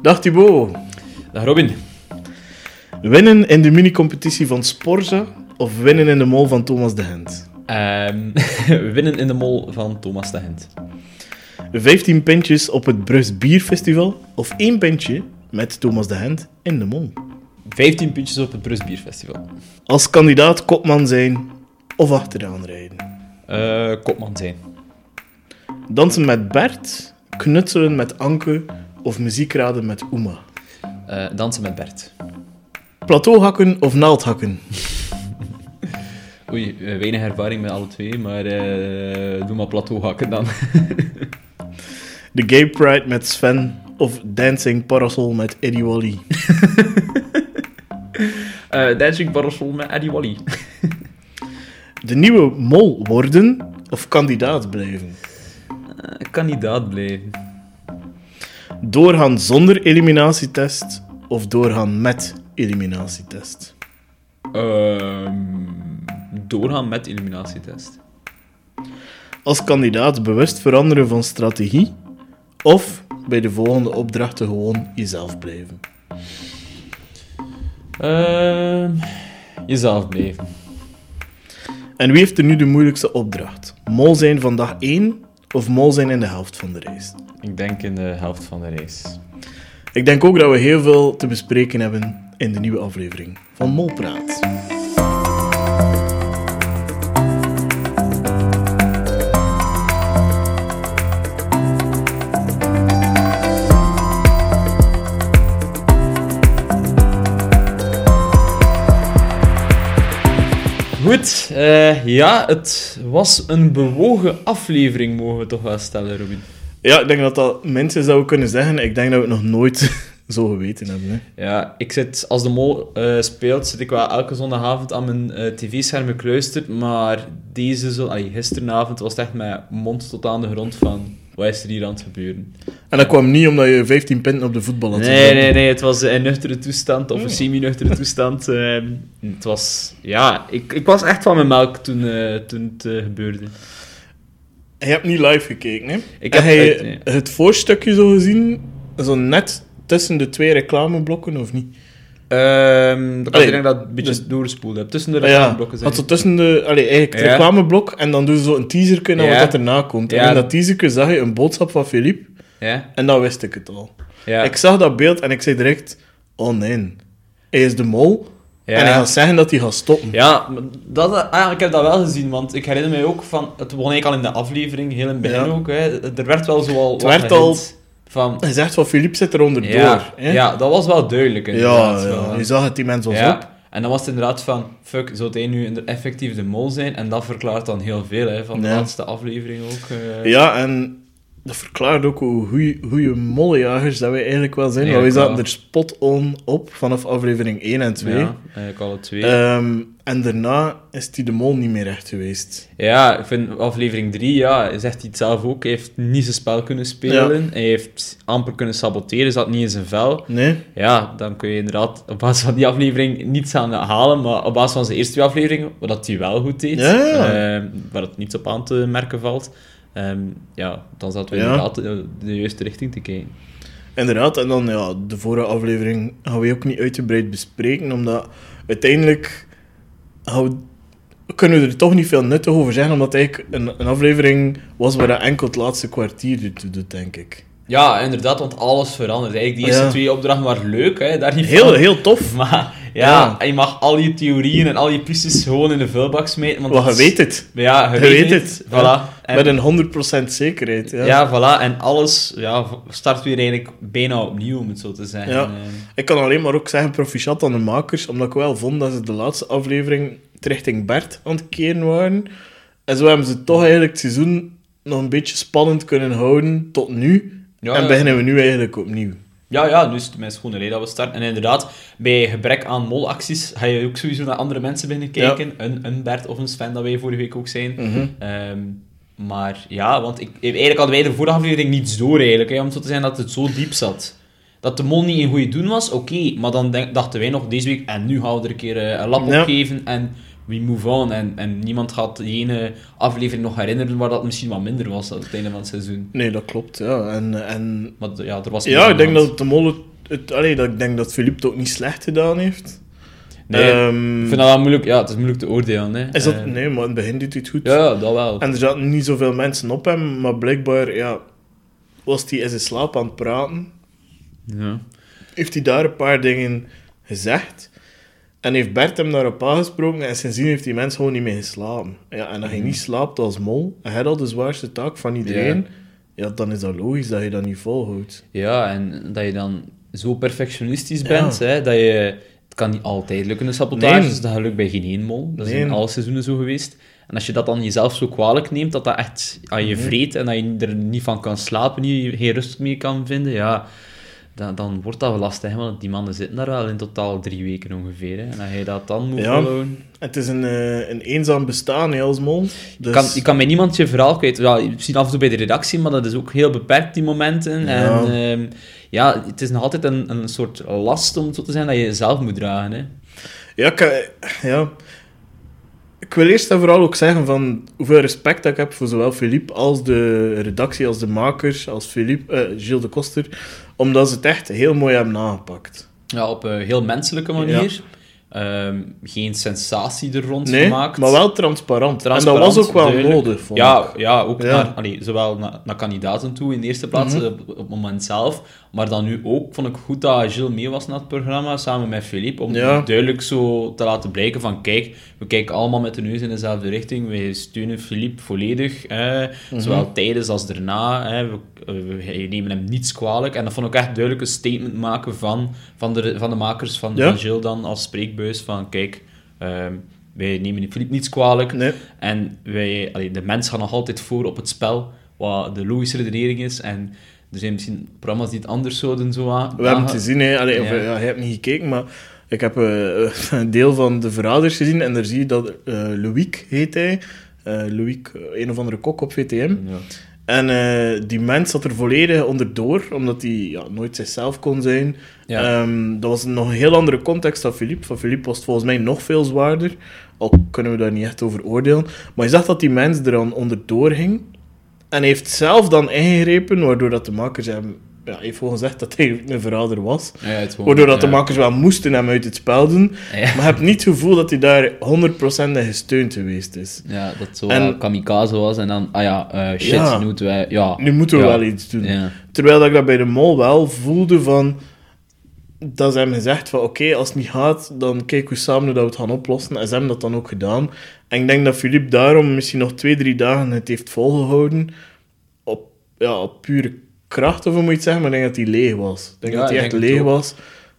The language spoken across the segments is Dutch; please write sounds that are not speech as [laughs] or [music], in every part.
Dag Thibaut. Dag Robin. Winnen in de minicompetitie van Sporza of winnen in de mol van Thomas de Gent? Ehm, [laughs] winnen in de mol van Thomas de Gent. 15 pintjes op het Brugs Bierfestival of één pintje met Thomas de Gent in de mol? 15 puntjes op het Brust Bierfestival. Als kandidaat kopman zijn of achteraan rijden? Eh, kopman zijn. Dansen met Bert, knutselen met Anke of muziekraden met Oema? Eh, dansen met Bert. Plateauhakken of naaldhakken? Oei, eh, weinig ervaring met alle twee, maar eh, doe maar plateau hakken dan. [laughs] De Gay Pride met Sven of Dancing Parasol met Eddie Wally? Eh Dancing Barrel met Eddie Wally. [laughs] De nieuwe mol worden of kandidaat blijven? Eh, kandidaat blijven. Doorgaan zonder eliminatietest of doorgaan met eliminatietest? Ehm, doorgaan met illuminatietest. Als kandidaat bewust veranderen van strategie of bij de volgende opdrachten gewoon jezelf blijven? Ehm, jezelf blijven. En wie heeft er nu de moeilijkste opdracht? Mol zijn van dag 1 of mol zijn in de helft van de race? Ik denk in de helft van de race. Ik denk ook dat we heel veel te bespreken hebben in de nieuwe aflevering van Molpraat. Goed, eh, ja, het was een bewogen aflevering, mogen we toch wel stellen, Robin. Ja, ik denk dat dat mensen zouden kunnen zeggen. Ik denk dat we het nog nooit [laughs] zo geweten hebben. Hè. Ja, ik zit, als de mol eh, speelt, zit ik wel elke zondagavond aan mijn eh, tv-scherm gekluisterd, maar deze zo, allee, gisteravond was het echt mijn mond tot aan de grond van, wat is er hier aan het gebeuren? En dat kwam niet omdat je 15 punten op de voetbal had. Nee, gezet. nee, nee, het was Hmm. een nuchtere toestand, of een [laughs] semi-nuchtere toestand. eh, het was, ja, ik, ik was echt van mijn melk toen, eh, toen het eh, gebeurde. Je hebt niet live gekeken, hè? Ik heb heb je uit- nee. het voorstukje zo gezien? Zo net tussen de twee reclameblokken, of niet? Ehm dat Allee, ik denk dat ik een beetje dus- doorgespoeld heb. Tussen de Ah ja, reclameblokken zijn. want zo tussen de... Allee, eigenlijk het Ja. reclameblok en dan doe je zo een teaser naar Ja. wat dat erna komt. En Ja. in dat teaserke zag je een boodschap van Philippe Ja? en dan wist ik het al. Ja. Ik zag dat beeld en ik zei direct... Oh nee, hij is de mol Ja. en hij gaat zeggen dat hij gaat stoppen. Ja, maar dat, ah, ja, ik heb dat wel gezien, want ik herinner mij ook van... Het begon eigenlijk al in de aflevering, heel in het begin Ja. ook. Hè. Er werd wel zoal Het werd al- Van, Hij zegt van Philippe zit er onderdoor. ja, hè? ja, dat was wel duidelijk ja, inderdaad. ja. van- je zag het, die mens was ja. op. En dan was het inderdaad van... Fuck, zou hij nu in- effectief de mol zijn? En dat verklaart dan heel veel, hè. Van Ja. de laatste aflevering ook. eh. Ja, en dat verklaart ook hoe goeie- goeie mollejagers dat wij eigenlijk wel zijn. Want wij Eigenlijk zaten wel. er spot-on op vanaf aflevering 1 en 2. Ja, eigenlijk alle twee. Ehm, en daarna is die de mol niet meer echt geweest. Ja, ik vind aflevering 3, ja, zegt hij het zelf ook. Hij heeft niet zijn spel kunnen spelen. Hij heeft amper kunnen saboteren, zat niet in zijn vel. Nee? Ja, dan kun je inderdaad op basis van die aflevering niets aan halen. Maar op basis van zijn eerste twee afleveringen, wat dat hij wel goed deed, Ja, ja. ehm, waar het niets op aan te merken valt, ehm, ja, dan zaten we Ja. inderdaad de, de juiste richting te kijken. Inderdaad, en dan ja, de vorige aflevering gaan we ook niet uitgebreid bespreken, omdat uiteindelijk gaan we- kunnen we er toch niet veel nuttig over zeggen, omdat het eigenlijk een, een aflevering was waar dat enkel het laatste kwartier ertoe doet, denk ik. Ja, inderdaad, want alles verandert. Eigenlijk die Oh, Ja. eerste twee opdrachten waren leuk, hè, daar niet Heel, van. heel tof, [laughs] Maar ja, Ja. je mag al je theorieën en al je pistes gewoon in de vuilbak smijten. Want want je het- weet het. Ja, je, weet, het. Voilà. ja. En, Met een 100% zekerheid. Ja. ja. voilà. En alles ja, start weer eigenlijk bijna opnieuw, om het zo te zeggen. Ja. Eh, Ik kan alleen maar ook zeggen proficiat aan de makers, omdat ik wel vond dat ze de laatste aflevering het richting Bert aan het keren waren. En zo hebben ze toch eigenlijk het seizoen nog een beetje spannend kunnen houden tot nu. Ja, en ja. beginnen we nu eigenlijk opnieuw. ja, ja, nu is het mijn schone reden dat we starten. En inderdaad, bij gebrek aan molacties ga je ook sowieso naar andere mensen binnen kijken. Een, een Bert of een Sven, dat wij vorige week ook zijn. Ehm, maar ja, want ik, eigenlijk hadden wij de vorige aflevering niets door, eigenlijk. Hè, om het zo te zijn dat het zo diep zat. Dat de mol niet in goede doen was, oké. maar dan denk- dachten wij nog deze week, en nu gaan we er een keer eh, een lap op Ja. geven en we move on. En, en niemand gaat die ene aflevering nog herinneren waar dat misschien wat minder was aan het einde van het seizoen. Nee, dat klopt. Ja, en, en, Maar d- ja, er was ja ik denk niemand. dat de mol het het, allee, dat ik denk dat Philippe het ook niet slecht gedaan heeft. Nee, Ehm, ik vind dat wel moeilijk. Ja, het is moeilijk te oordelen. Hè. Is dat, Eh, nee, maar in het begin doet hij het goed. Ja, ja, dat wel. En er zaten niet zoveel mensen op hem, maar blijkbaar ja, was hij in zijn slaap aan het praten. Ja. Heeft hij daar een paar dingen gezegd. En heeft Bert hem daarop aangesproken en sindsdien heeft die mens gewoon niet meer geslapen. Ja, en als je niet slaapt als mol, en hij had de zwaarste taak van iedereen, ja. dan is dat logisch dat je dat niet volhoudt. ja, en dat je dan zo perfectionistisch Ja. bent, hè, dat je... Het kan niet altijd lukken, een sabotage. Nee. Dus dat lukt bij geen één mol. Dat is Nee. in alle seizoenen zo geweest. En als je dat dan jezelf zo kwalijk neemt, dat dat echt aan je vreet en dat je er niet van kan slapen, niet, geen rust meer kan vinden, ja... Dan, dan wordt dat wel lastig, hè, want die mannen zitten daar wel in totaal drie weken ongeveer. Hè. En als je dat dan moet Ja. volhouden... Het is een, eh, een eenzaam bestaan hè, als mol. Dus... kan, je kan bij niemand je verhaal kwijt. Ja, misschien af en toe bij de redactie, maar dat is ook heel beperkt, die momenten. En ehm, ja, het is nog altijd een, een soort last, om het zo te zijn, dat je zelf moet dragen. Hè. Ja, ik, eh, ja. Ik wil eerst en vooral ook zeggen van hoeveel respect dat ik heb voor zowel Philippe als de redactie, als de makers, als Philippe, eh, Gilles de Koster, omdat ze het echt heel mooi hebben aangepakt. Ja, op een heel menselijke manier. Ehm, geen sensatie er rond Nee, gemaakt. maar wel transparant. En dat Transparant, was ook wel duidelijk. nodig, vond ik. ja, ja, ook Ja. Naar, allee, zowel naar, naar kandidaten toe in de eerste plaats, eh, Mhm. op, op het moment zelf. Maar dan nu ook, vond ik goed dat Gilles mee was naar het programma, samen met Philippe, om Ja. duidelijk zo te laten blijken van, kijk, we kijken allemaal met de neus in dezelfde richting, we steunen Philippe volledig, eh, Mhm. zowel tijdens als daarna. eh, we, eh, we nemen hem niets kwalijk. En dat vond ik echt duidelijk een statement maken van, van, de, van de makers van, Ja. van Gilles dan als spreekbuis, van, kijk... ehm, wij nemen Philippe niets kwalijk. Nee. En wij, allee, de mens gaat nog altijd voor op het spel, wat de logische redenering is. En er zijn misschien programma's die het anders zouden zo aan. We hebben het gezien, hè. Allee, of, Ja. eh, ja, je hebt niet gekeken, maar ik heb eh, een deel van De Verraders gezien en daar zie je dat eh Loïc heet hij. Eh Loïc, eh, een of andere kok op VTM. Ja. En eh, die mens zat er volledig onderdoor, omdat hij ja, nooit zichzelf kon zijn. Ja. Ehm, dat was nog een heel andere context dan Philippe. Van Philippe was het volgens mij nog veel zwaarder, al kunnen we daar niet echt over oordelen. Maar je zag dat die mens er dan onderdoor ging. En hij heeft zelf dan ingegrepen, waardoor dat de makers hem... Ja, hij heeft gewoon gezegd dat hij een verrader was. Ja, het gewoon- Waardoor dat de ja. makers wel moesten hem uit het spel doen. Ja. Maar je hebt niet het gevoel dat hij daar 100% in gesteund geweest is. Ja, dat zo En- wel kamikaze was en dan, ah ja, eh, shit, Ja. nu moeten wij. Ja, Nu moeten we Ja. wel iets doen. Ja. Terwijl dat ik dat bij de mol wel voelde van... Dat ze hem gezegd van, oké, als het niet gaat, dan kijken we samen hoe dat we het gaan oplossen. En ze hebben dat dan ook gedaan. En ik denk dat Philippe daarom misschien nog twee, drie dagen het heeft volgehouden. Op, ja, op pure kracht, of hoe moet je het zeggen. Maar ik denk dat hij leeg was. Ik denk Ja, dat hij ik echt denk het leeg ook. was.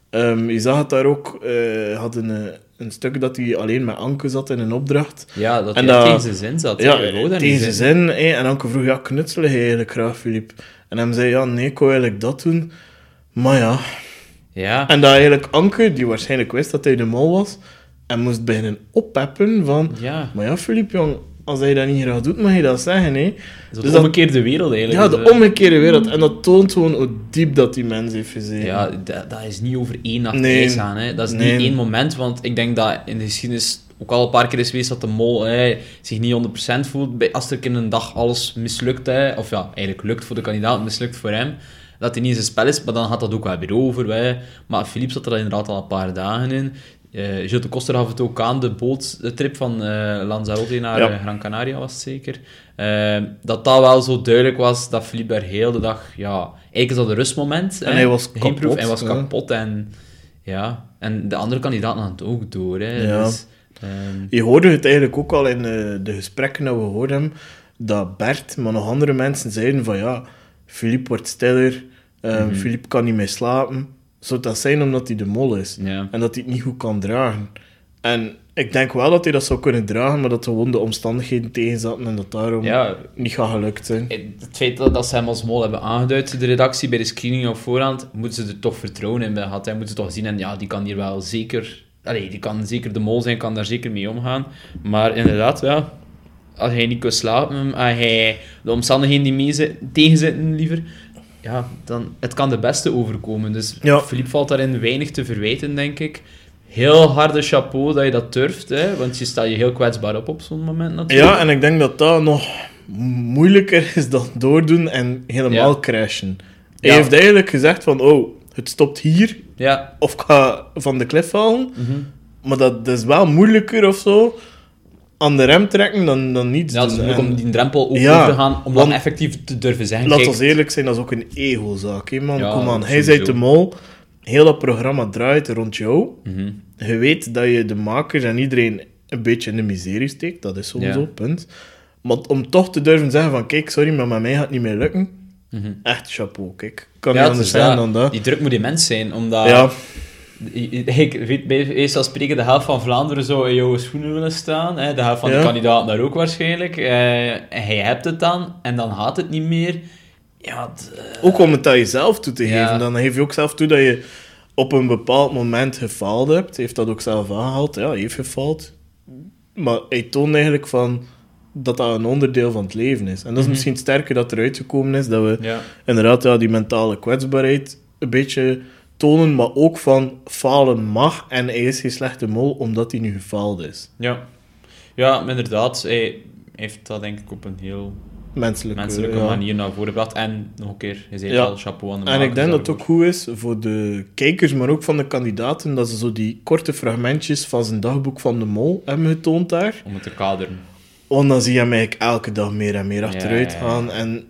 Ehm, je zag het daar ook. eh, hij had een, eh, een stuk dat hij alleen met Anke zat in een opdracht. ja, dat En hij dat- tegen zijn zin zat. hè. Ja, Ik wou dat niet tegen zijn zeggen. zin. hè. En Anke vroeg, ja, knutselen jij eigenlijk graag, Filip? En hem zei, ja, nee, ik wil eigenlijk dat doen. Maar ja. Ja. En dat eigenlijk Anke, die waarschijnlijk wist dat hij de mol was, en moest beginnen oppeppen van... Ja. Maar ja, Filip, jong, als hij dat niet graag doet, mag je dat zeggen, hè. Dus Dus dat dat- omgekeerde wereld eigenlijk. Ja, Dus, de eh, omgekeerde wereld. En dat toont gewoon hoe diep dat die mens heeft gezeten. Ja, dat, dat is niet over één nacht Nee. ijs aan. Hè. Dat is Nee. niet één moment, want ik denk dat in de geschiedenis ook al een paar keer is geweest dat de mol hè, zich niet 100% voelt. Bij, als er een keer een dag alles mislukt, hè, of ja, eigenlijk lukt voor de kandidaat, mislukt voor hem, dat hij niet in zijn spel is, maar dan gaat dat ook wel weer over. Hè. Maar Philippe zat er inderdaad al een paar dagen in. Eh Gilles de Koster gaf het ook aan, de boottrip van eh, Lanzarote naar Ja. eh, Gran Canaria was het zeker. Eh, dat dat wel zo duidelijk was dat Philippe daar heel de dag... Ja, eigenlijk is dat een rustmoment. En hè. hij was Geen kapot, proef, Hij was hè. kapot en... Ja. En de andere kandidaat had het ook door, hè. Ja. Dus, ehm, Je hoorde het eigenlijk ook al in eh, de gesprekken dat we gehoord hebben, dat Bert, maar nog andere mensen zeiden van ja, Philippe wordt stiller, eh, Mhm. Philippe kan niet meer slapen. Zou dat zijn omdat hij de mol is? Ja. En dat hij het niet goed kan dragen. En ik denk wel dat hij dat zou kunnen dragen, maar dat gewoon de omstandigheden tegenzaten en dat daarom ja, niet gaat gelukt zijn. Eh, het feit dat, dat ze hem als mol hebben aangeduid, de redactie, bij de screening op voorhand, moeten ze er toch vertrouwen in hebben gehad. Hè. Moeten ze toch zien, en ja, die kan hier wel zeker... Allee, die kan zeker de mol zijn, kan daar zeker mee omgaan. Maar inderdaad, ja... Als hij niet kan slapen, als hij de omstandigheden die mee zitten, tegenzitten liever... Ja, dan... Het kan de beste overkomen. Dus Ja. Philippe valt daarin weinig te verwijten, denk ik. Heel harde chapeau dat je dat durft, hè. Want je staat je heel kwetsbaar op op zo'n moment, natuurlijk. Ja, en ik denk dat dat nog moeilijker is dan doordoen en helemaal Ja. crashen. Hij Ja. heeft eigenlijk gezegd van, oh, het stopt hier, Ja. of ik ga van de klif vallen. Mhm. Maar dat, dat is wel moeilijker of zo, aan de rem trekken dan, dan niets ja, het is doen. moeilijk om En die drempel ook Ja, over te gaan, om dan want- effectief te durven zeggen. Laat kijk, ons eerlijk zijn, dat is ook een ego-zaak, hè, man. Ja, Kom aan, hij zei sowieso. de mol, heel dat programma draait rond jou. mhm. Je weet dat je de makers en iedereen een beetje in de miserie steekt, dat is sowieso, Ja. punt. Maar om toch te durven zeggen van, kijk, sorry, maar met mij gaat het niet meer lukken. Mhm. Echt chapeau, kijk. Kan niet Ja, het anders is zijn dat. dan dat. Die druk moet immens zijn, omdat... ja, Ik weet bij eerst al spreken, de helft van Vlaanderen zou in jouw schoenen willen staan. Hè? De helft van Ja. de kandidaten daar ook waarschijnlijk. Eh, en jij hebt het dan, en dan gaat het niet meer. Ja, d- eh, ook om het aan jezelf toe te Ja. geven. Dan geef je ook zelf toe dat je op een bepaald moment gefaald hebt. Heeft dat ook zelf aangehaald. Ja, hij heeft gefaald. Maar hij toont eigenlijk van dat dat een onderdeel van het leven is. En dat is misschien sterker dat eruit gekomen is, dat we Mhm. ja. inderdaad ja, die mentale kwetsbaarheid een beetje tonen, maar ook van falen mag en hij is geen slechte mol omdat hij nu gefaald is. Ja. ja, maar inderdaad. Hij heeft dat denk ik op een heel Menselijke, menselijke ja. manier naar voren gebracht. En nog een keer, je zei Ja. het al, chapeau aan de En ik makers denk dat het daarvoor. ook goed is voor de kijkers, maar ook van de kandidaten, dat ze zo die korte fragmentjes van zijn dagboek van de mol hebben getoond daar. Om het te kaderen. Want dan zie je hem eigenlijk elke dag meer en meer achteruit ja, ja. gaan. En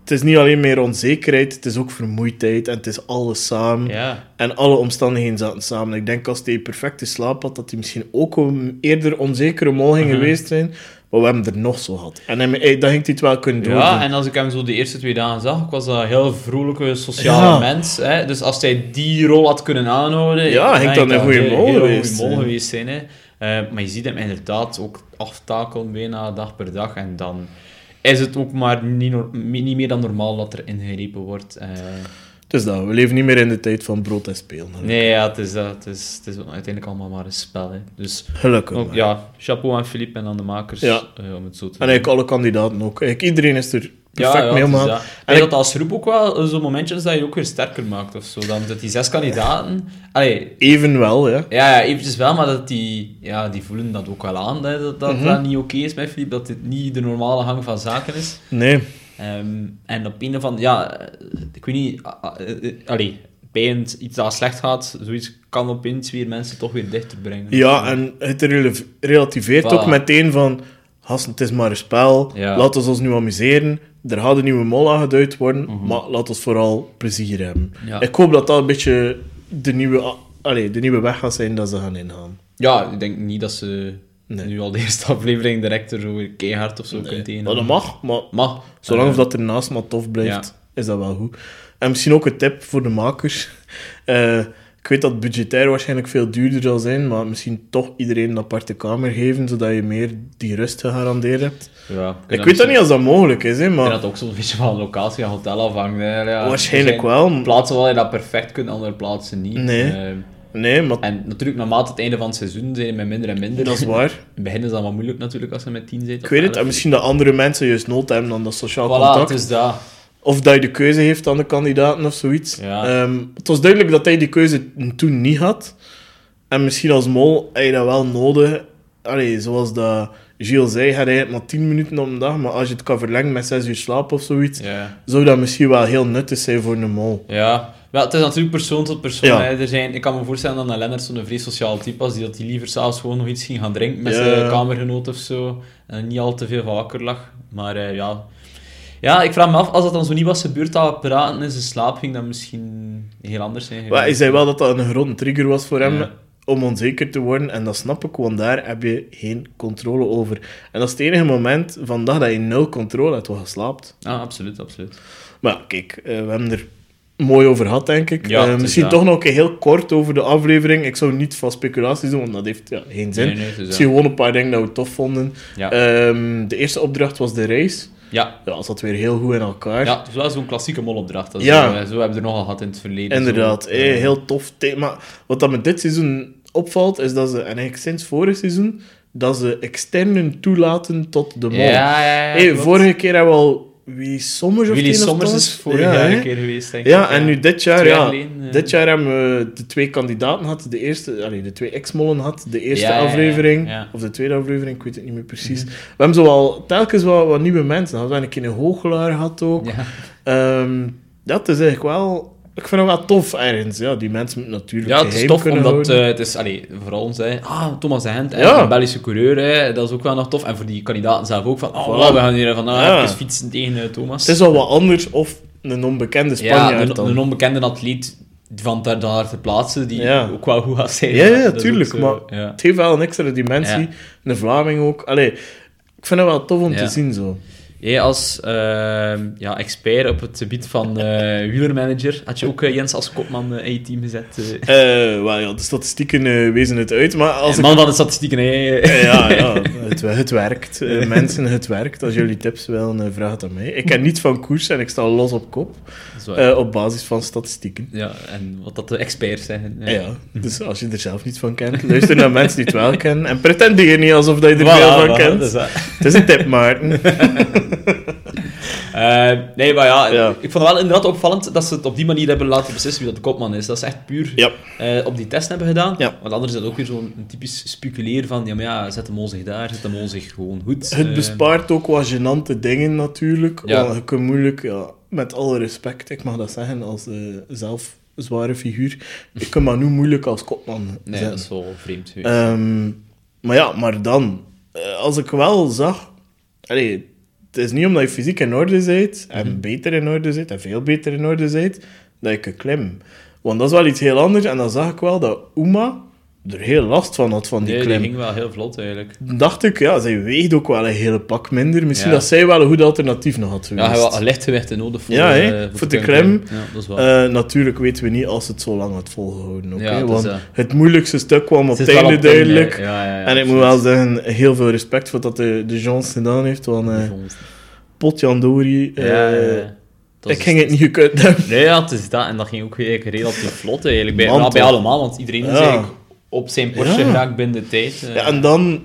het is niet alleen meer onzekerheid, het is ook vermoeidheid en het is alles samen. Ja. En alle omstandigheden zaten samen. Ik denk als hij perfecte slaap had, dat hij misschien ook een eerder onzekere mol ging Mhm. geweest zijn. Maar we hebben hem er nog zo gehad. En hij, hij- dan ging hij het wel kunnen doen. Ja, en als ik hem zo de eerste twee dagen zag, ik was dat een heel vrolijke, sociale Ja. mens. Hè? Dus als hij die rol had kunnen aanhouden... Ja, hij denk dan dat een goeie hij mol heel goeie geweest mol zijn. geweest zijn, hè. Eh, maar je ziet hem inderdaad ook aftakelen bijna dag per dag. En dan is het ook maar niet, nor- mi- niet meer dan normaal dat er ingegrepen wordt. Eh, Dus dat, we leven niet meer in de tijd van brood en spelen. nee, ja, het, is, dat het, is, het is uiteindelijk allemaal maar een spel. Hè. Dus Gelukkig. ook, maar. ja, chapeau aan Philippe en aan de makers Ja. eh, om het zo te En eigenlijk alle kandidaten ook. Eigenlijk iedereen is er perfect mee ja, het is omgegaan. dat. En En ik- dat als groep ook wel eh, zo'n momentje is dat je ook weer sterker maakt of zo. Dan dat die zes kandidaten. Allee, Evenwel, ja. ja, ja, eventjes wel, maar dat die, ja, die voelen dat ook wel aan. Hè, dat dat, Mhm. dat niet oké is met Filip, dat dit niet de normale gang van zaken is. Nee. Ehm, en op een of andere ja, eh, ik weet niet, ah, ah, eh, eh, allee, bij een, iets dat slecht gaat, zoiets kan op eens weer mensen toch weer dichter brengen. Ja, en het rele- relativeert Voilà. ook meteen van... Gasten, het is maar een spel. Ja. Laten we ons nu amuseren. Er gaat een nieuwe mol aangeduid worden. Maar laten we vooral plezier hebben. Mhm. Ja. Ik hoop dat dat een beetje de nieuwe, a- allee, de nieuwe weg gaat zijn dat ze gaan ingaan. Ja, ik denk niet dat ze Nee. nu al de eerste [laughs] aflevering direct er zo weer keihard of zo kunt Nee. tegenhouden. Maar dat mag, maar Mag. zolang Eh, of dat ernaast maar tof blijft, is dat wel goed. En misschien ook een tip voor de makers. [laughs] Eh, ik weet dat het budgetair waarschijnlijk veel duurder zal zijn, maar misschien toch iedereen een aparte kamer geven, zodat je meer die rust gegarandeerd hebt. Ja, Ik weet dat niet als dat mogelijk is, hè, Ik maar denk dat het ook zo'n beetje van locatie en hotel afhangt. hè. Ja, Waarschijnlijk er zijn wel. Plaatsen waar je dat perfect kunt, andere plaatsen niet. Nee. Eh, nee, maar en natuurlijk, naarmate het einde van het seizoen zijn we minder en minder. dat is waar. In het begin is dat wat moeilijk natuurlijk als je met 10 zit. Ik weet het, en misschien dat andere mensen juist nood hebben aan dat sociaal Voilà, dus contact. het is dat. Of dat je de keuze heeft aan de kandidaten of zoiets. Ja. Ehm, het was duidelijk dat hij die keuze toen niet had. En misschien als mol heb je dat wel nodig. Allee, zoals dat Gilles zei, had hij het maar 10 minuten op een dag. Maar als je het kan verlengen met 6 uur slaap of zoiets, Ja. zou dat misschien wel heel nuttig zijn voor een mol. Ja. Wel, het is natuurlijk persoon tot persoon. Ja. hè. Er zijn, ik kan me voorstellen dat een Lennart zo'n vrij sociaal type was, die, dat die liever s'avonds gewoon nog iets ging gaan drinken met Ja. zijn kamergenoot of zo. En niet al te veel van wakker lag. Maar eh, ja. Ja, ik vraag me af, als dat dan zo niet was gebeurd, dat we praten in zijn slaap, ging dat misschien heel anders zijn Maar geweest. hij zei wel dat dat een grote trigger was voor hem Ja. om onzeker te worden. En dat snap ik, want daar heb je geen controle over. En dat is het enige moment vandaag dat je nul controle hebt wat geslaapt. Ah, absoluut, absoluut. Maar ja, kijk, eh, we hebben er mooi over gehad, denk ik. Ja, Eh, het is misschien dat. toch nog een keer heel kort over de aflevering. Ik zou niet van speculaties doen, want dat heeft ja, geen zin. Nee, nee, het is misschien gewoon een paar dingen dat we tof vonden. Ja. Ehm, de eerste opdracht was de race. Ja, Ja, dat zat weer heel goed in elkaar. ja het is wel zo'n klassieke molopdracht. Dat is Ja. zo, eh, zo hebben we er nogal gehad in het verleden. Inderdaad, Zo, eh, eh, heel tof thema. Wat dat met dit seizoen opvalt, is dat ze, en eigenlijk sinds vorig seizoen, dat ze externen toelaten tot de mol. Ja, ja, ja. Eh, klopt. vorige keer hebben we al Willy Sommers of Willy het een of Sommers het is ander. vorig Ja, jaar hè? een keer geweest, denk ik. Ja, en nu dit jaar, Twee ja, jaar geleden, eh. dit jaar hebben we de twee kandidaten gehad. De eerste, allee, de twee ex-mollen had. De eerste Ja, ja, ja, aflevering, ja. Mhm. of de tweede aflevering, ik weet het niet meer precies. We hebben zowel telkens wel wat nieuwe mensen. gehad. We hebben een keer een hoogelaar gehad ook. Ja. Ehm, dat is eigenlijk wel Ik vind het wel tof ergens. Ja, die mensen moeten natuurlijk Ja, het is geheim tof, kunnen omdat houden. eh, het is, allee, vooral ons, hè. ah, Thomas de Gent, hè, Ja. een Belgische coureur, hè, dat is ook wel nog tof. En voor die kandidaten zelf ook, van, oh, Voilà. voilà, we gaan hier vandaag Ja. even fietsen tegen eh, Thomas. Het is al wat anders of een onbekende ja, Spanjaard een, dan. een onbekende atleet van daar, daar te plaatsen, die Ja. ook wel goed gaat zijn. Ja, ja, Dat is tuurlijk, ook zo, maar- ja. Het heeft wel een extra dimensie. Ja. Een Vlaming ook. Allee, ik vind het wel tof om Ja. te zien zo. Jij als ehm, ja, expert op het gebied van eh wielermanager, had je ook eh, Jens als kopman eh, in je team gezet? eh? Eh, wel ja, de statistieken eh, wezen het uit, maar als Eh, man van de statistieken, hè. ik... Eh, [laughs] [laughs] ja, ja het, het werkt. [laughs] Eh, mensen, het werkt. Als jullie tips willen, eh, vraag het aan mij. Ik ken niet van koers en ik sta los op kop. Zo, eh, op basis van statistieken. ja, en wat dat de experts zeggen. Ja. Mhm. dus als je er zelf niet van kent, luister naar mensen die het wel kennen. En pretendeer niet alsof dat je er Voilà, veel voilà, dus- van dat kent. is dat. Het is een tip, Maarten. Eh, nee, maar ja, Ja. ik vond het wel inderdaad opvallend dat ze het op die manier hebben laten beslissen wie dat de kopman is. Dat ze echt puur [laughs] Ja. eh, op die test hebben gedaan. Ja. Want anders is dat ook weer zo'n typisch speculeer van, ja, maar ja, zet hem onzig daar, zet hem onzig gewoon goed. Het Eh, bespaart ook wat gênante dingen natuurlijk. Ja. Want je kunt moeilijk, ja, met alle respect, ik mag dat zeggen als eh, zelf zware figuur, ik kan maar nu moeilijk als kopman Nee, zijn. dat is wel vreemd. Ehm, maar ja, maar dan, eh, als ik wel zag, allee, het is niet omdat je fysiek in orde bent, en Mhm. beter in orde zit, en veel beter in orde zit, dat ik een klim. Want dat is wel iets heel anders, en dan zag ik wel dat Uma er heel last van had van die Nee, die klim ging wel heel vlot eigenlijk. dacht ik, ja, zij weegt ook wel een hele pak minder. Misschien Ja. dat zij wel een goed alternatief nog had Ja, geweest. hij had lichtgewichten nodig voor, Ja, hè, eh, voor de te kunnen crème. klimmen. Ja, dat is waar. Eh, natuurlijk weten we niet als het zo lang had volgehouden. oké? Ja, het is, Want eh, het moeilijkste stuk kwam op Het het is wel einde op het einde, duidelijk. ja, ja, ja, en ik moet absoluut. wel zeggen, heel veel respect voor dat de, de Johns gedaan heeft. Want eh potjandori, eh, Ja, ja, ja. Dat ik is- ging het niet gekund hebben. [laughs] Nee, ja, het is dat. En dat ging ook weer relatief vlot eigenlijk. Bij, Man, nou, bij toch. allemaal, want iedereen is Ja. eigenlijk op zijn Porsche Ja. geraakt binnen de tijd. eh. Ja, en dan...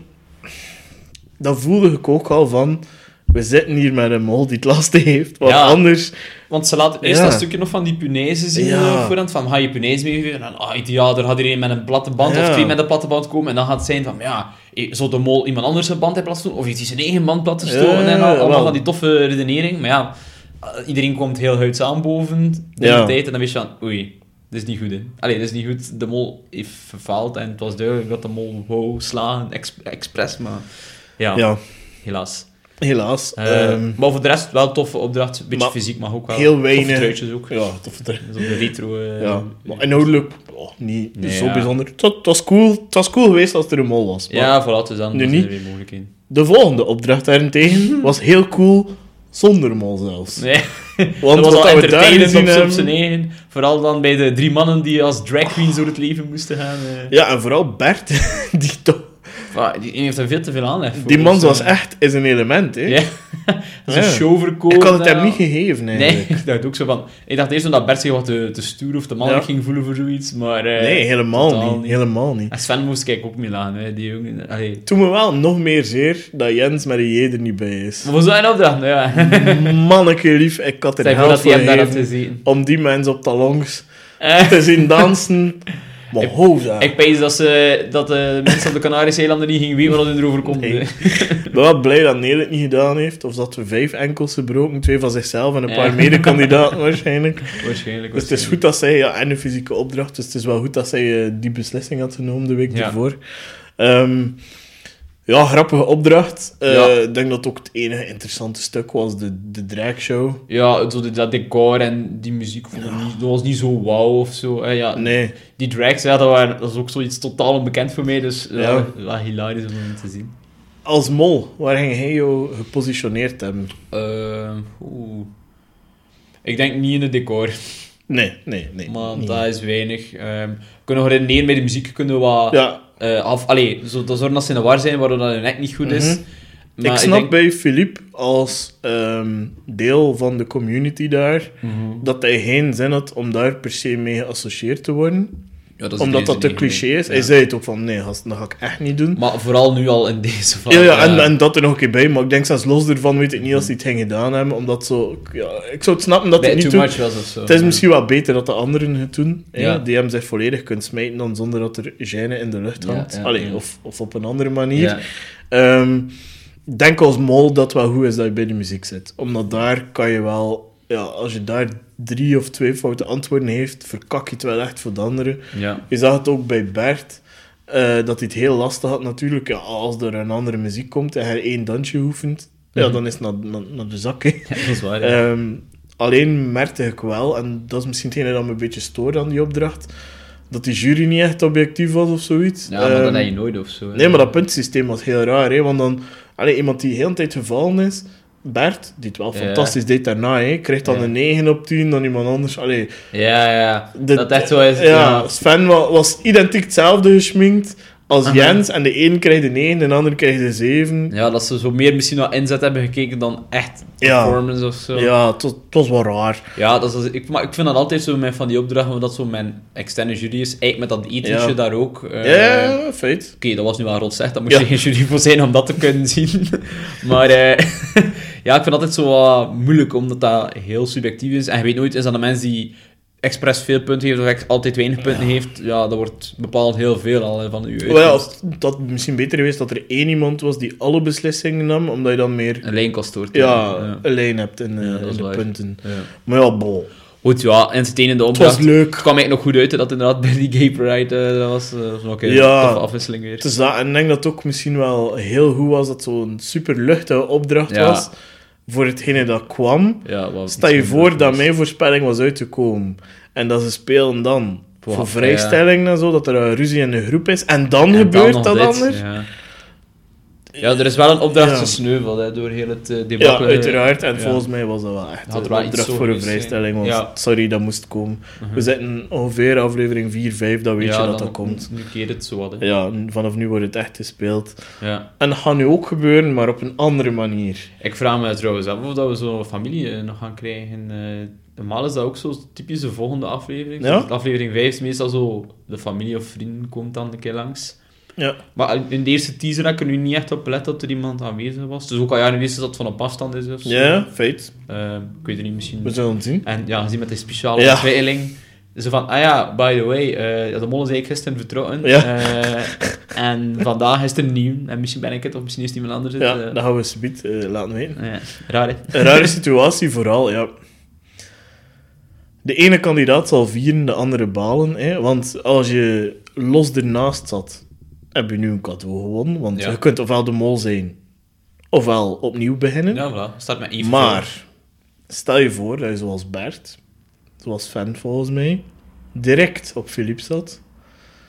Dan voelde ik ook al van... We zitten hier met een mol die het lastig heeft. Want Ja. anders... Want ze laten eerst Ja. dat stukje nog van die punaise zien Ja. eh, voorhand. Van, ga je punaise meegeven? En dan, ah, ideaal, er gaat iedereen met een platte band of Ja. twee met een platte band komen. En dan gaat het zijn van, ja, eh, zal de mol iemand anders een band hebben doen Of heeft hij zijn eigen band plat gestoken? Ja, en al- allemaal wel. van die toffe redenering. Maar ja, eh, iedereen komt heel huids aan boven de Ja. tijd. En dan wist je van, oei, dit is niet goed, hè. Allee, dit is niet goed. De mol heeft verfaald. En het was duidelijk dat de mol wou slaan, ex- expres. Maar ja, Ja, helaas. helaas. Eh, Ehm, maar voor de rest wel toffe opdracht. Beetje maar fysiek, maar ook wel. heel toffe weinig- truitjes ook. ja, tof dat er- Dat is op de retro... eh, Ja, maar inhoudelijk oh, niet Nee, zo ja. bijzonder. Het was, het was cool, het was cool geweest als er een mol was. maar Ja, voilà, dus dan Nu is er niet. weer mogelijk in. De volgende opdracht [laughs] daarentegen was heel cool zonder mol zelfs. Nee, Want dat wat was al we daar entertainend gezien op, op hebben- zijn eigen. Vooral dan bij de drie mannen die als drag queens door het leven moesten gaan. eh. Ja, en vooral Bert, [laughs] die, toch- Ah, die, die heeft er veel te veel aanleg voor. die man dus, was eh, echt is een element. Hè. Ja, [laughs] dat is een Ja. show verkopen. Ik had het hem eh. niet gegeven Nee, eigenlijk. ik dacht ook zo van... Ik dacht eerst dat Bert zich wat te, te stoer of te mannelijk Ja. ging voelen voor zoiets, maar... eh, Nee, helemaal totaal niet, Helemaal niet. En Sven moest kijk ook mee lachen, hè, die jongen. Allee. Toen me wel nog meer zeer dat Jens met een J er niet bij [laughs] is. Maar voor zo'n opdracht, nou [laughs] ja. Manneke lief, ik had er Zeg helft voor dat hij hem daar had gegeven gezien. om die mensen op talongs Eh. te zien dansen. Maar ho, daar. Ik pees dat, ze, dat de mensen op de Canarische eilanden niet gingen weten wat er over komt. Nee. hè. Ik ben wel blij dat Neel het niet gedaan heeft. Of dat we vijf enkels gebroken, twee van zichzelf en een paar Ja. [laughs] medekandidaten waarschijnlijk. Waarschijnlijk. Dus het is goed dat zij, ja, en een fysieke opdracht, dus het is wel goed dat zij eh, die beslissing had genomen de week Ja. ervoor. Ehm, ja, grappige opdracht. Eh, Ja. Ik denk dat het ook het enige interessante stuk was, de, de draagshow. Ja, zo die- dat decor en die muziek vond ik niet, dat was niet zo wauw of zo. Eh, ja, Nee, Die drags, ja, dat, waren, dat was ook zoiets totaal onbekend voor mij, dus ja. Ja. wel hilarisch om hem te zien. als mol, waar ging hij jou gepositioneerd hebben? Eh, Ehm, oeh. Ik denk niet in het decor, Nee, nee, nee. maar niet. dat is weinig. Ehm, we kunnen nog redeneren bij de muziek, kunnen we wat Ja, eh, af... Allee, zo, dat zorgen dat ze in de war zijn, waardoor dat hun nek niet goed is. Mhm. Maar ik snap denk- bij Philippe als ehm, deel van de community daar Mhm. dat hij geen zin had om daar per se mee geassocieerd te worden. Ja, dat is omdat deze dat te niet cliché geweest. is. Hij Ja. zei het ook van, nee gast, dat ga ik echt niet doen. Maar vooral nu al in deze van. eh, ja, ja, en, en dat er nog een keer bij. Maar ik denk zelfs los ervan weet ik niet als hij het ging gedaan hebben. Omdat zo... ik- Ja, ik zou het snappen dat hij het bij niet too doet. much was of zo. Het is Ja. misschien wel beter dat de anderen het doen. hè, Ja. Die hem zich volledig kunnen smijten dan zonder dat er gêne in de lucht Ja, hangt. ja, Allee, ja. Of, of op een andere manier. Ja. Ehm, ik denk als mol dat het wel goed is dat je bij de muziek zit. Omdat daar kan je wel... Ja, als je daar drie of twee foute antwoorden heeft, verkak je het wel echt voor de anderen. Ja. Je zag het ook bij Bert, eh, dat hij het heel lastig had natuurlijk. Ja, als er een andere muziek komt en hij één dansje oefent, ja, Mhm. dan is het naar, naar, naar de zak. hè. dat is waar. [laughs] ja. Ehm, alleen merkte ik wel, en dat is misschien hetgene dat me een beetje stoorde aan die opdracht, dat die jury niet echt objectief was of zoiets. ja, maar dat Ehm, heb je nooit of zo. hè. Nee, maar dat puntensysteem was heel raar, hè? want dan... Allee, iemand die heel de tijd gevallen is... Bert, die het wel Ja. fantastisch deed daarna, hè? krijgt dan Ja. een 9 op 10 dan iemand anders. Allee, Ja, ja. de- dat echt zo is. ja, het, Ja. Sven was, was identiek hetzelfde geschminkt als Aha. Jens. En de een krijgt een 9, en de ander krijgt een 7. ja, dat ze zo meer misschien naar inzet hebben gekeken dan echt Ja. performance of zo. Ja, het, was, het was wel raar. Ja, dat is, ik, maar ik vind dat altijd zo mijn, van die opdrachten, omdat dat zo mijn externe jury is. Eigenlijk met dat etentje Ja. daar ook. eh, Ja, ja, ja, feit. Oké, dat was nu wel rot zeg, daar moest Ja. je geen jury voor zijn om dat te kunnen [laughs] zien. maar eh, [laughs] ja, ik vind altijd zo wat moeilijk, omdat dat heel subjectief is. En je weet nooit, is dat een mens die expres veel punten heeft of ex- altijd weinig punten heeft? Ja, dat wordt bepaald heel veel al hè, van u. Wel, het had misschien beter geweest dat er één iemand was die alle beslissingen nam, omdat je dan meer Een lijnkost hoort. ja, een lijn hebt in, eh, Ja, dat in is de waar. punten. Ja. Maar ja, bol. Goed, ja, entertainende Het opdracht. was leuk. Het kwam eigenlijk nog goed uit, hè, dat inderdaad [laughs] bij die Gay Pride, eh, dat was eh, was nog een Ja. toffe afwisseling weer. Het is Dus dat, en ik denk dat het ook misschien wel heel goed was dat zo'n super luchtige opdracht Ja. was voor hetgene dat kwam. Ja, wat Stel je voor dat mijn voorspelling was uitgekomen en dat ze spelen dan Wow, voor vrijstelling en zo, dat er een ruzie in de groep is en dan En dan gebeurt nog dat dit, anders. Ja, Ja. ja, er is wel een opdracht Ja. gesneuveld hè, door heel het eh, debat. uiteraard. En ja. volgens mij was dat wel echt Had er een wel iets opdracht zo voor een geweest zijn. vrijstelling. Want Ja. Mhm. sorry, dat moest komen. We zitten ongeveer aflevering 4, 5, dan weet je dat dat komt. Nu keert het zo wat. Hè. Ja, en vanaf nu wordt het echt gespeeld. Ja. En dat gaat nu ook gebeuren, maar op een andere manier. Ik vraag me trouwens af of dat we zo'n familie eh, nog gaan krijgen. eh normaal is dat ook zo typisch de volgende aflevering. Ja. Dus Aflevering 5 is meestal zo, de familie of vrienden komt dan een keer langs. Ja. Maar in de eerste teaser had ik er nu niet echt op let dat er iemand aanwezig was. Dus ook al ja, nu wist dat het van op afstand is of zo. Dus, Ja, feit. Eh, ik weet het niet, misschien... We zullen het zien. En ja, gezien met die speciale Ja. ontwikkeling. Zo van, ah ja, by the way, eh, de mol is eigenlijk gisteren vertrokken. Ja. Eh, en vandaag is er nieuw. En misschien ben ik het, of misschien is het iemand anders. het, Ja, eh, Nou dat gaan we subiet eh, laten weten. ja, raar, hè? Een rare [laughs] situatie vooral, ja. De ene kandidaat zal vieren, de andere balen. Hè? Want als je los ernaast zat, heb je nu een cadeau gewonnen. Want Ja. je kunt ofwel de mol zijn, ofwel opnieuw beginnen. Ja, voilà. Start met even. maar, stel je voor dat je zoals Bert, zoals fan volgens mij, direct op Filip zat.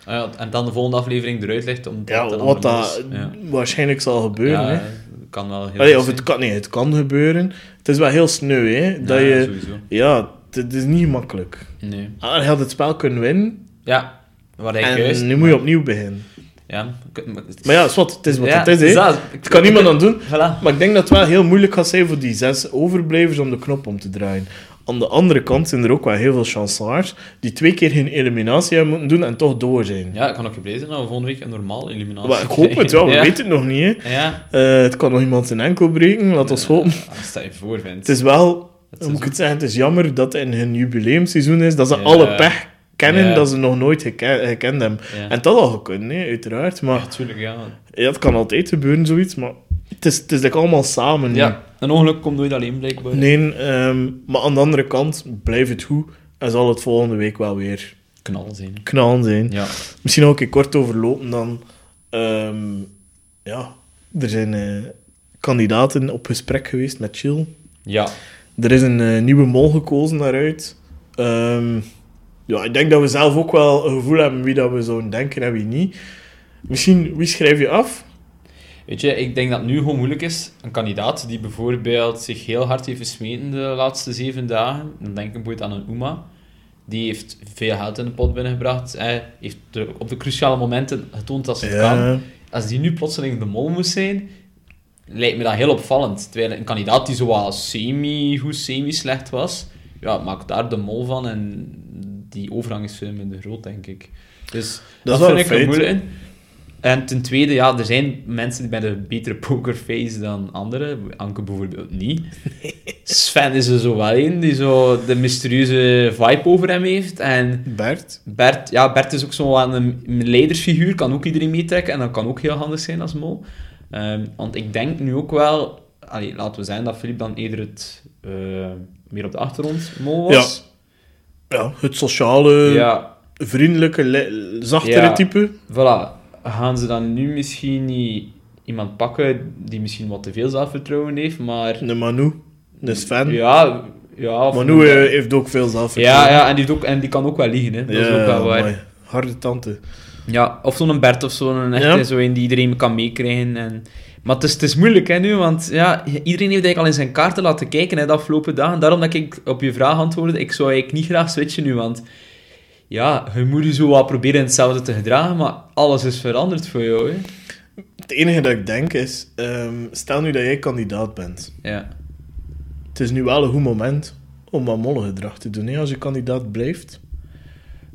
Ah ja, en dan de volgende aflevering eruit legt. Omdat Ja, het wat allemaal dat is. Ja. waarschijnlijk zal gebeuren. Ja, eh, hè. kan wel heel Allee, goed of het zijn. kan, nee, het kan gebeuren. Het is wel heel sneu, hè. Dat Ja, je, sowieso. ja, het- het is niet makkelijk. Nee. Ah, Hij had het spel kunnen winnen. Ja, wat ik en juist... nu moet je opnieuw beginnen. Ja. ik- Maar het Maar ja, zwart, het is wat Ja, het is, het is hè. dat. Het kan niemand aan doen. Voilà. Maar ik denk dat het wel heel moeilijk gaat zijn voor die zes overblijvers om de knop om te draaien. Aan de andere kant zijn er ook wel heel veel chansards die twee keer geen eliminatie hebben moeten doen en toch door zijn. Ja, ik kan ook gebleven zijn dat we volgende week een normaal eliminatie Maar ik hoop het [laughs] wel, we krijgen. weten het nog niet, hè. Ja. Ja. Eh, het kan nog iemand zijn enkel breken, laat ons hopen. Ah, Stel je voor, vindt. Het is wel, hoe seizoen. moet ik het zeggen, het is jammer dat in hun jubileumseizoen is dat ze Ja. alle pech kennen Ja. dat ze nog nooit geke- gekend hebben. Ja. En dat had gekund, hè, uiteraard. Maar Natuurlijk, ja. ja, het kan altijd gebeuren, zoiets. Maar het is, het is like allemaal samen. nu. Ja, een ongeluk komt nooit alleen, blijkbaar. Nee, ehm, maar aan de andere kant, blijf het goed. En zal het volgende week wel weer Knal zijn. knallen zijn. Ja. Misschien ook een keer kort overlopen dan. Ehm, ja, er zijn eh, kandidaten op gesprek geweest met Chill. Ja. Er is een eh, nieuwe mol gekozen daaruit. Ehm, ja, ik denk dat we zelf ook wel een gevoel hebben wie dat we zouden denken en wie niet. Misschien, wie schrijf je af? Weet je, ik denk dat het nu gewoon moeilijk is. Een kandidaat die bijvoorbeeld zich heel hard heeft gesmeten de laatste zeven dagen. Dan denk ik bijvoorbeeld aan een Uma. Die heeft veel geld in de pot binnengebracht. Hij heeft de- op de cruciale momenten getoond dat ze het kan. als die nu plotseling de mol moest zijn, lijkt me dat heel opvallend. Terwijl een kandidaat die zowel semi-goed, semi-slecht was, ja, maakt daar de mol van en die overgang is veel minder groot, denk ik. Dus Dat dat, is wel vind een ik feit. er moeilijk in. En ten tweede, ja, er zijn mensen die met een betere pokerface dan anderen. Anke bijvoorbeeld [laughs] niet. Sven is er zo wel een die zo de mysterieuze vibe over hem heeft. En Bert? Bert, ja, Bert is ook zo'n wel een een leidersfiguur, kan ook iedereen meetrekken en dat kan ook heel handig zijn als mol. Ehm, want ik denk nu ook wel, allee, laten we zeggen dat Filip dan eerder het eh, meer op de achtergrond mol was. Ja, het sociale, Ja, vriendelijke, le- zachtere Ja. type. voilà. Gaan ze dan nu misschien niet iemand pakken die misschien wat te veel zelfvertrouwen heeft, maar... De Manu, de Sven. Ja, ja. of- Manu eh, heeft ook veel zelfvertrouwen. Ja, ja en, die heeft ook, en die kan ook wel liegen, hè. Dat is ook wel waar. amai. Harde tante. Ja, of zo'n Bert of zo'n echte, Ja. zo een die iedereen kan meekrijgen. En... Maar het is, het is moeilijk hè, nu, want ja, iedereen heeft eigenlijk al in zijn kaarten laten kijken hè, de afgelopen dagen. Daarom dat ik op je vraag antwoordde, ik zou eigenlijk niet graag switchen nu, want ja, je moet je zo wat proberen hetzelfde te gedragen, maar alles is veranderd voor jou. Hè. Het enige dat ik denk is, ehm, stel nu dat jij kandidaat bent. Ja. Het is nu wel een goed moment om wat molle gedrag te doen. Hè? Als je kandidaat blijft,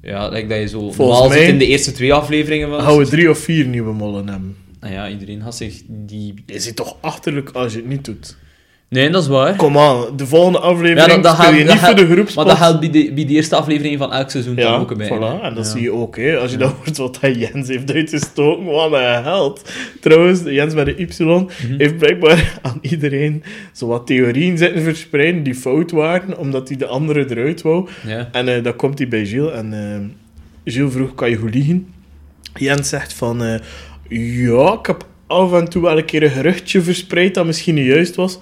ja, like dat je zo Volgens normaal mij- zit in de eerste twee afleveringen van... gaan we drie of vier nieuwe mollen hebben. Nou ja, iedereen had zich die... Je zit toch achterlijk als je het niet doet. Nee, dat is waar. Kom aan, de volgende aflevering Ja, dan- dan speel gaan- je dan niet gaan- voor de groepspot. Maar dat geldt bij de, bij de eerste aflevering van elk seizoen ja, dan ook bij. voilà. hè. En dat Ja. zie je ook, hè. Als je dat hoort wat hij Jens heeft uitgestoken, wat een held. Trouwens, Jens met de Y Mhm. heeft blijkbaar aan iedereen zo wat theorieën zitten verspreiden die fout waren, omdat hij de andere eruit wou. Ja. En eh dan komt hij bij Gilles en eh Gilles vroeg, kan je goed liegen? Jens zegt van, eh, ja, ik heb af en toe wel een keer een geruchtje verspreid dat misschien niet juist was.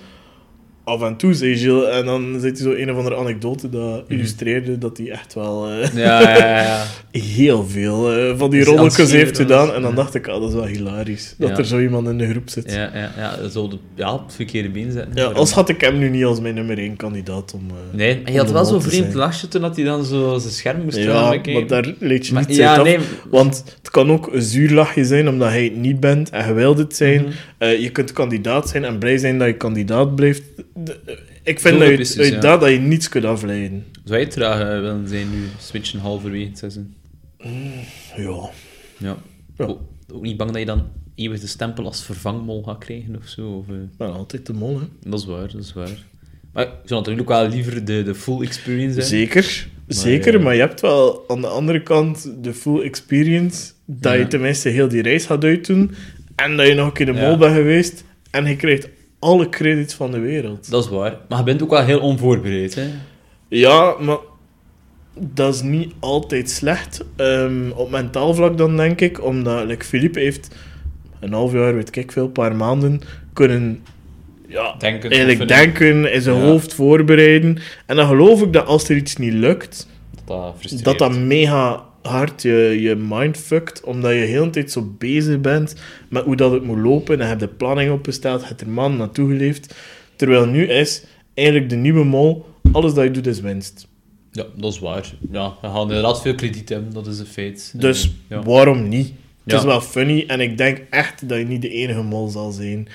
Af en toe, zei Gilles. En dan zit hij zo een of andere anekdote dat illustreerde dat hij echt wel eh, Mhm. Ja, ja, ja, ja. heel veel eh, van die Dus aan rolletjes het heeft schilderen gedaan. was- En dan ja. dacht ik, ah, dat is wel hilarisch. Dat Ja. er zo iemand in de groep zit. Ja. Ja, ja, ja, zo de, ja, op het verkeerde been zetten. als had ik hem nu niet als mijn nummer 1 kandidaat om... eh, Nee, maar je om had de wel mol zo'n te vreemd zijn. lachje toen dat hij dan zo zijn scherm moest Ja, gaan bekijken. maar daar leed je Maar- niet uit ja, af. nee. Want het kan ook een zuur lachje zijn omdat hij het niet bent en je wilt het zijn. Mhm. Eh, je kunt kandidaat zijn en blij zijn dat je kandidaat blijft. De- eh, ik vind Zo dat, je- precies, uit ja. dat, dat je niets kunt afleiden. Zou je traag eh, willen zijn nu, switchen halverwege het seizoen? Ja. Ja. Ja. Ook, ook niet bang dat je dan eeuwig de stempel als vervangmol gaat krijgen of zo? Of, eh, Maar altijd de mol, hè. Dat is waar, dat is waar. Maar ik zou natuurlijk ook wel liever de, de full experience hebben. Zeker. Zeker, ja. maar je hebt wel aan de andere kant de full experience. Dat Ja. je tenminste heel die reis gaat uitdoen. En dat je nog een keer de Ja. mol bent geweest. En je krijgt alle credits van de wereld. Dat is waar. Maar je bent ook wel heel onvoorbereid, hè? Ja, maar dat is niet altijd slecht. Ehm, op mentaal vlak dan, denk ik. Omdat, like, Philippe heeft een half jaar, weet ik veel, een paar maanden kunnen... Ja, Denken. eigenlijk oefenen, denken, in zijn Ja. hoofd voorbereiden. En dan geloof ik dat als er iets niet lukt, Dat dat frustreert. dat dat mega hard je, je mind fuckt. Omdat je heel de tijd zo bezig bent met hoe dat het moet lopen. En je hebt de planning opgesteld, je hebt er maanden naartoe geleefd. Terwijl nu is eigenlijk de nieuwe mol, alles dat je doet is winst. Ja, dat is waar. Ja, we gaan inderdaad veel krediet hebben, dat is een feit. Dus Mm, Ja. waarom niet? Het Ja. is wel funny en ik denk echt dat je niet de enige mol zal zijn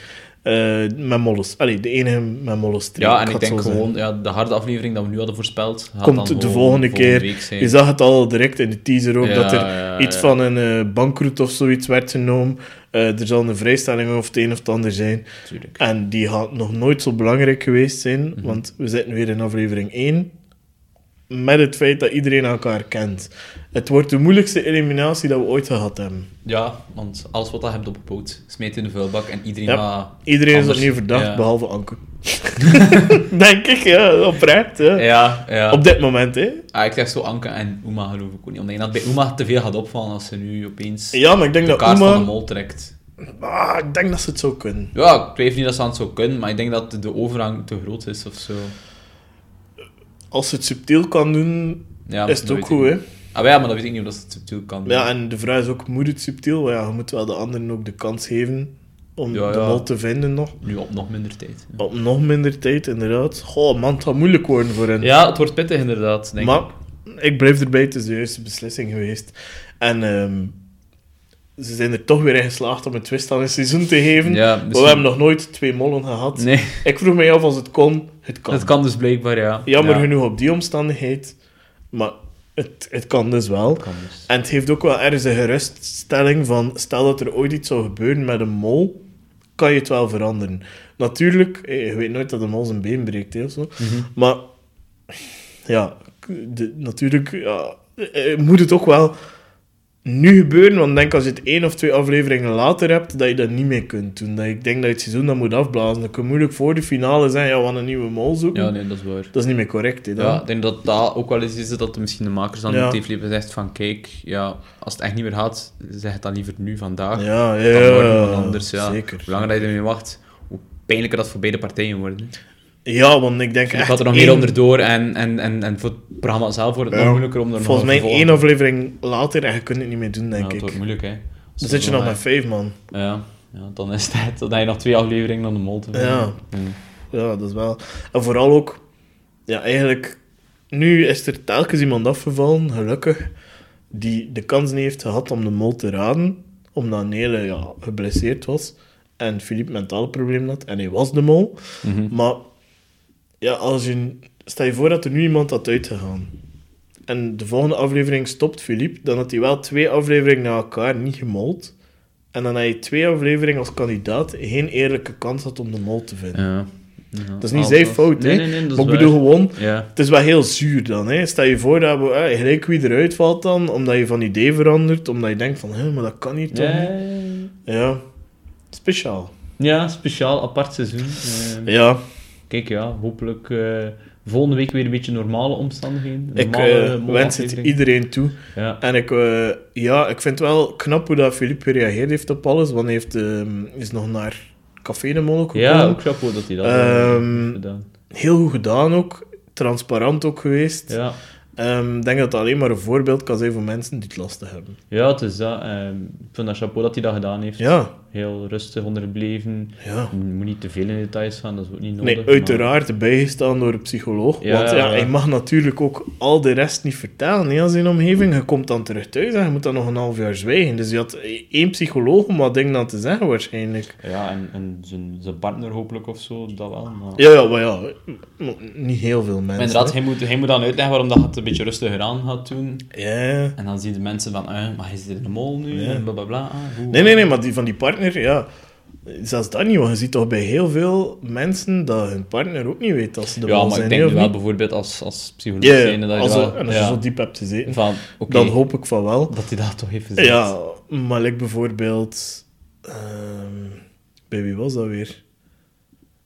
eh, met molles. Allee, de enige met mollenstreek. Ja, ik en ga het ik zo denk zeggen. gewoon, ja, de harde aflevering dat we nu hadden voorspeld, gaat Komt dan de gewoon volgende keer. week zijn. Je zag het al direct in de teaser ook, Ja, dat er ja, iets ja. van een eh, bankroet of zoiets werd genomen. Eh, er zal een vrijstelling of het een of het ander zijn. Tuurlijk. Mhm. En die gaat nog nooit zo belangrijk geweest zijn, want we zitten weer in aflevering 1. Met het feit dat iedereen elkaar kent. Het wordt de moeilijkste eliminatie dat we ooit gehad hebben. Ja, want alles wat dat hebt opgebouwd, smijt in de vuilbak en iedereen Ja. gaat... Iedereen Anders- is opnieuw verdacht, ja. behalve [laughs] Anke. Denk ik, ja, oprecht. Ja. Ja, ja. Op dit moment, hè. Ah, ik zeg zo Anke en Uma geloof ik ook niet, omdat je dat bij Uma te veel gaat opvallen als ze nu opeens Ja, maar ik denk de dat kaart van de Uma... mol trekt. Ah, ik denk dat ze het zou kunnen. Ja, ik weet niet dat ze aan het zo kunnen, maar ik denk dat de overhang te groot is of zo. Als ze het subtiel kan doen, Ja, is het dat ook weet goed, ik hè. niet. Ah, ja, maar dat weet ik niet of dat ze het subtiel kan doen. Ja, en de vraag is ook, moet het subtiel? Want ja, je moet wel de anderen ook de kans geven om Ja, de ja. mol te vinden nog. Nu op nog minder tijd. ja. Op nog minder tijd, inderdaad. Goh, man, het gaat moeilijk worden voor hen. Ja, het wordt pittig inderdaad, denk maar ik. ik blijf erbij, het is de juiste beslissing geweest. En ehm, ze zijn er toch weer in geslaagd om een twist aan het seizoen te geven. Ja, Maar misschien- Oh, We hebben nog nooit twee mollen gehad. Nee, Ik vroeg mij af als het kon. Het kan. dat kan dus blijkbaar, ja. Jammer Ja, genoeg op die omstandigheid. Maar het, het kan dus wel. dat kan dus. En het heeft ook wel ergens een geruststelling van... Stel dat er ooit iets zou gebeuren met een mol, kan je het wel veranderen. Natuurlijk, eh, je weet nooit dat een mol zijn been breekt hè, of zo. Mhm. Maar ja, de, natuurlijk ja, eh, eh, moet het ook wel nu gebeuren, want ik denk als je het één of twee afleveringen later hebt, dat je dat niet meer kunt doen. Dat ik denk dat je het seizoen dan moet afblazen. Dan kun je moeilijk voor de finale zijn, ja, we gaan een nieuwe mol zoeken. Ja, nee, dat is waar. Dat is niet meer correct, hè, dan. Ja, ik denk dat dat ook wel eens is dat de- misschien de makers dan Ja. ja. heeft gezegd van kijk, ja, als het echt niet meer gaat, zeg het dan liever nu, vandaag. Ja, ja, Dan morgen, want anders, ja. zeker. Hoe langer dat je ermee wacht, hoe pijnlijker dat voor beide partijen wordt. hè. Ja, want ik denk Je echt gaat er nog één- meer onderdoor en, en, en, en voor het programma zelf wordt het Ja. nog moeilijker om er nog Volgens mij een vervolg- één aflevering later en je kunt het niet meer doen, Ja, denk het ik. Dus wordt moeilijk, hè. Dan zit je nog met vijf man. Ja, ja, dan is het [laughs] tijd dat je nog twee afleveringen aan de mol te Ja. vinden. Ja, dat is wel. En vooral ook, ja, eigenlijk, nu is er telkens iemand afgevallen, gelukkig, die de kans niet heeft gehad om de mol te raden, omdat Nele ja, geblesseerd was en Philippe mentale problemen had en hij was de mol. Mhm. Maar ja, als je, stel je voor dat er nu iemand had uitgegaan. En de volgende aflevering stopt Philippe, dan had hij wel twee afleveringen na elkaar niet gemold. En dan had je twee afleveringen als kandidaat geen eerlijke kans had om de mol te vinden. Ja. Dat is niet zijn fout, nee, hè? nee, nee, dat maar ik is bedoel waar. gewoon, Ja. het is wel heel zuur dan, hè? Stel je voor dat we, eh, gelijk wie eruit valt dan, omdat je van idee verandert, omdat je denkt van, hé, maar dat kan hier toch niet. Ja, Ja. Speciaal. ja, speciaal, apart seizoen. Eh, Ja. Kijk, ja, hopelijk eh, volgende week weer een beetje normale omstandigheden. Ik Normale eh, wens het molaflevering. iedereen toe. Ja. En ik, eh, ja, ik vind het wel knap hoe dat Philippe gereageerd heeft op alles, want hij heeft, ehm, is nog naar Café de Mol ook gekomen. ja, ook chapeau dat hij dat eh, Ehm, heeft gedaan. Heel goed gedaan ook. Transparant ook geweest. Ehm, Ik Ja. denk dat het alleen maar een voorbeeld kan zijn voor mensen die het lastig hebben. ja, het is dat. ehm, ik vind dat chapeau dat hij dat gedaan heeft. Ja, Heel rustig onderbleven. ja. Je moet niet te veel in details gaan, dat is ook niet nodig. Nee, maar- uiteraard bijgestaan door een psycholoog. Ja, want ja, ja. hij mag natuurlijk ook al de rest niet vertellen hè, aan zijn omgeving. Je komt dan terug thuis en je moet dan nog een half jaar zwijgen. Dus je had één psycholoog om wat dingen aan te zeggen waarschijnlijk. Ja, en, en zijn, zijn partner hopelijk of zo, dat wel. Maar... Ja, ja, maar ja, m- niet heel veel Maar mensen. inderdaad, hè. hij moet, hij moet dan uitleggen waarom dat je het een beetje rustiger aan gaat doen. Ja. En dan zien de mensen van, eh, maar hij zit in de mol nu, Ja. en blablabla. ah, hoe- Nee, nee, nee, maar die van die partner, ja... Zelfs dat niet, want je ziet toch bij heel veel mensen dat hun partner ook niet weet als ze de ja, man maar zijn, ik hè, denk of wel niet? bijvoorbeeld als, als psycholoog Ja, zijnde dat je als, wel- en als je ja, zo diep hebt gezeten, van, oké, dan hoop ik van wel. dat hij dat toch even zegt. Ja, maar ik bijvoorbeeld... ehm, bij wie was dat weer?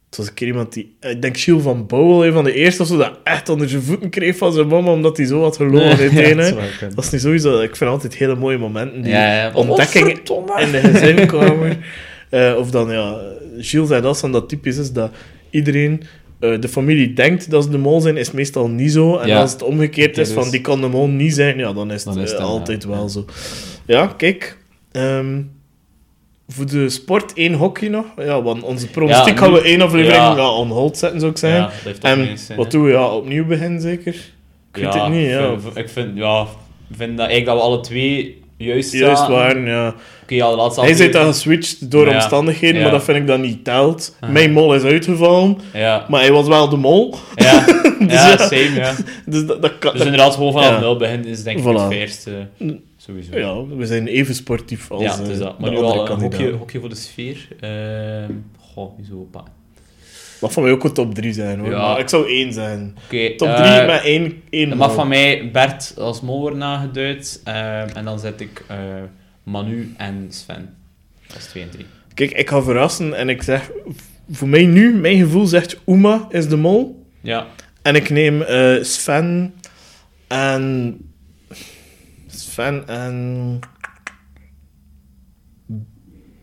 Het was een keer iemand die... Ik denk Gilles van Bouwel, een van de eerste of zo, dat echt onder zijn voeten kreeg van zijn mama, omdat hij zo had gelogen. Nee, in het een, hè. [laughs] ja, dat zou wel kunnen. dat is niet sowieso... Ik vind altijd hele mooie momenten die Ja, ja. ontdekkingen Oh, verdomme. [laughs] in de gezinkamer. Eh, of dan, ja... Gilles zei dat, van dat typisch is dat iedereen... eh, de familie denkt dat ze de mol zijn, is meestal niet zo. En Ja. als het omgekeerd Dat is, is- van die kan de mol niet zijn, ja, dan is het, Dan is het eh, dan, ja. altijd wel Ja. zo. Ja, kijk. ehm, voor de sport één hockey nog. Ja, want onze pronostiek nu- gaan we één aflevering ja. ja. on hold zetten, zou ik Ja, zeggen. dat heeft toch en niks, hè. wat doen we? Ja, opnieuw beginnen zeker? Ik weet het niet, ja. Ik vind, ik vind, ja, ik vind dat, eigenlijk dat we alle twee juist Juist zaten. waar, ja. Oké, ja, de laatste Hij zit aflevering- dan geswitcht door Ja, omstandigheden, ja. maar dat vind ik dan niet telt. Aha. Mijn mol is uitgevallen, Ja, maar hij was wel de mol. [laughs] ja, ja, ja. same, ja. Dus dat, dat kan... Dus inderdaad, gewoon vanaf Ja. nul beginnen is denk ik Voilà. het fairste. Sowieso. Ja, ja, we zijn even sportief als het is eh, dat. de Maar nu andere al een kandidaat. hokje, hokje voor de sfeer. Ehm goh, wieso pa. Oké. Dat van mij ook een top 3 zijn hoor. Ja. Maar ik zou één zijn. Top 3 eh, met één, één Dat mag mol. van mij Bert als mol worden aangeduid. ehm, en dan zet ik eh, Manu en Sven. Dat is 2 en 3. Kijk, ik ga verrassen en ik zeg... Voor mij nu, mijn gevoel zegt Uma is de mol. Ja, En ik neem eh, Sven en... Sven en...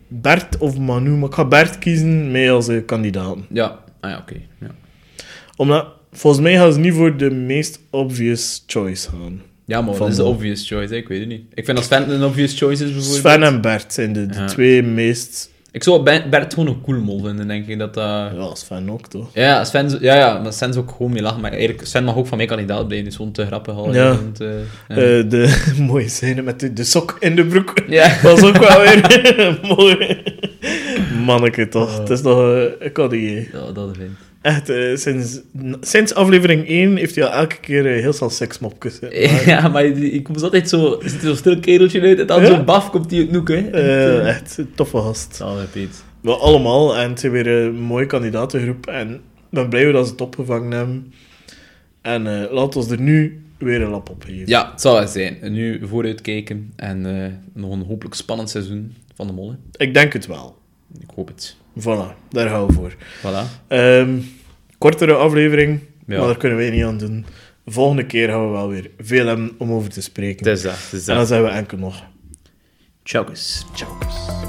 Bert of Manu, maar ik ga Bert kiezen mee als eh, kandidaat. ja. Ah ja, oké. Ja. Omdat, volgens mij gaan ze niet voor de meest obvious choice gaan. ja, maar Van de- obvious choice, hè? ik weet het niet. Ik vind dat Sven een obvious choice is Sven en Bert zijn de, de Ja. twee meest... Ik zou Ben- Bert gewoon een cool mol vinden, denk ik. Dat, eh, dat- Ja, Sven ook, toch? Ja, Sven, is- ja, ja, maar Sven is ook gewoon mee lachen. Maar eigenlijk, Sven mag ook van mij kandidaat blijven. Die is gewoon te grappig. Al, Ja. en te- ja. Eh, de [laughs] mooie scène met de, de sok in de broek. [laughs] Ja. Dat is ook wel weer [laughs] mooi. Manneke toch, het is nog eh, een cadeau. Ja, dat vind ik. Echt, eh, sinds, sinds aflevering 1 heeft hij al elke keer eh, heel snel seksmopjes. hè. Maar, [laughs] Ja, maar die- ik kom altijd zo... Er zit zo'n stil kereltje uit en dan Ja? zo'n baf komt die uit noek, hè. eh, echt, een toffe gast. Salve, Piet. Wel allemaal, en het is weer een mooie kandidatengroep. En ik ben blij dat ze het opgevangen hebben. En eh laten we eh, er nu weer een lap opgeven. Ja, het zal wel zijn. En nu vooruitkijken en eh, nog een hopelijk spannend seizoen van de Molle. Ik denk het wel. Ik hoop het. Voilà, daar gaan we voor. Voilà. Ehm, kortere aflevering, Ja. maar daar kunnen wij niet aan doen. Volgende keer gaan we wel weer veel hebben om over te Het spreken. is dat. Het is En dan dat. zijn we enkel nog. Ciao. guys. Ciao.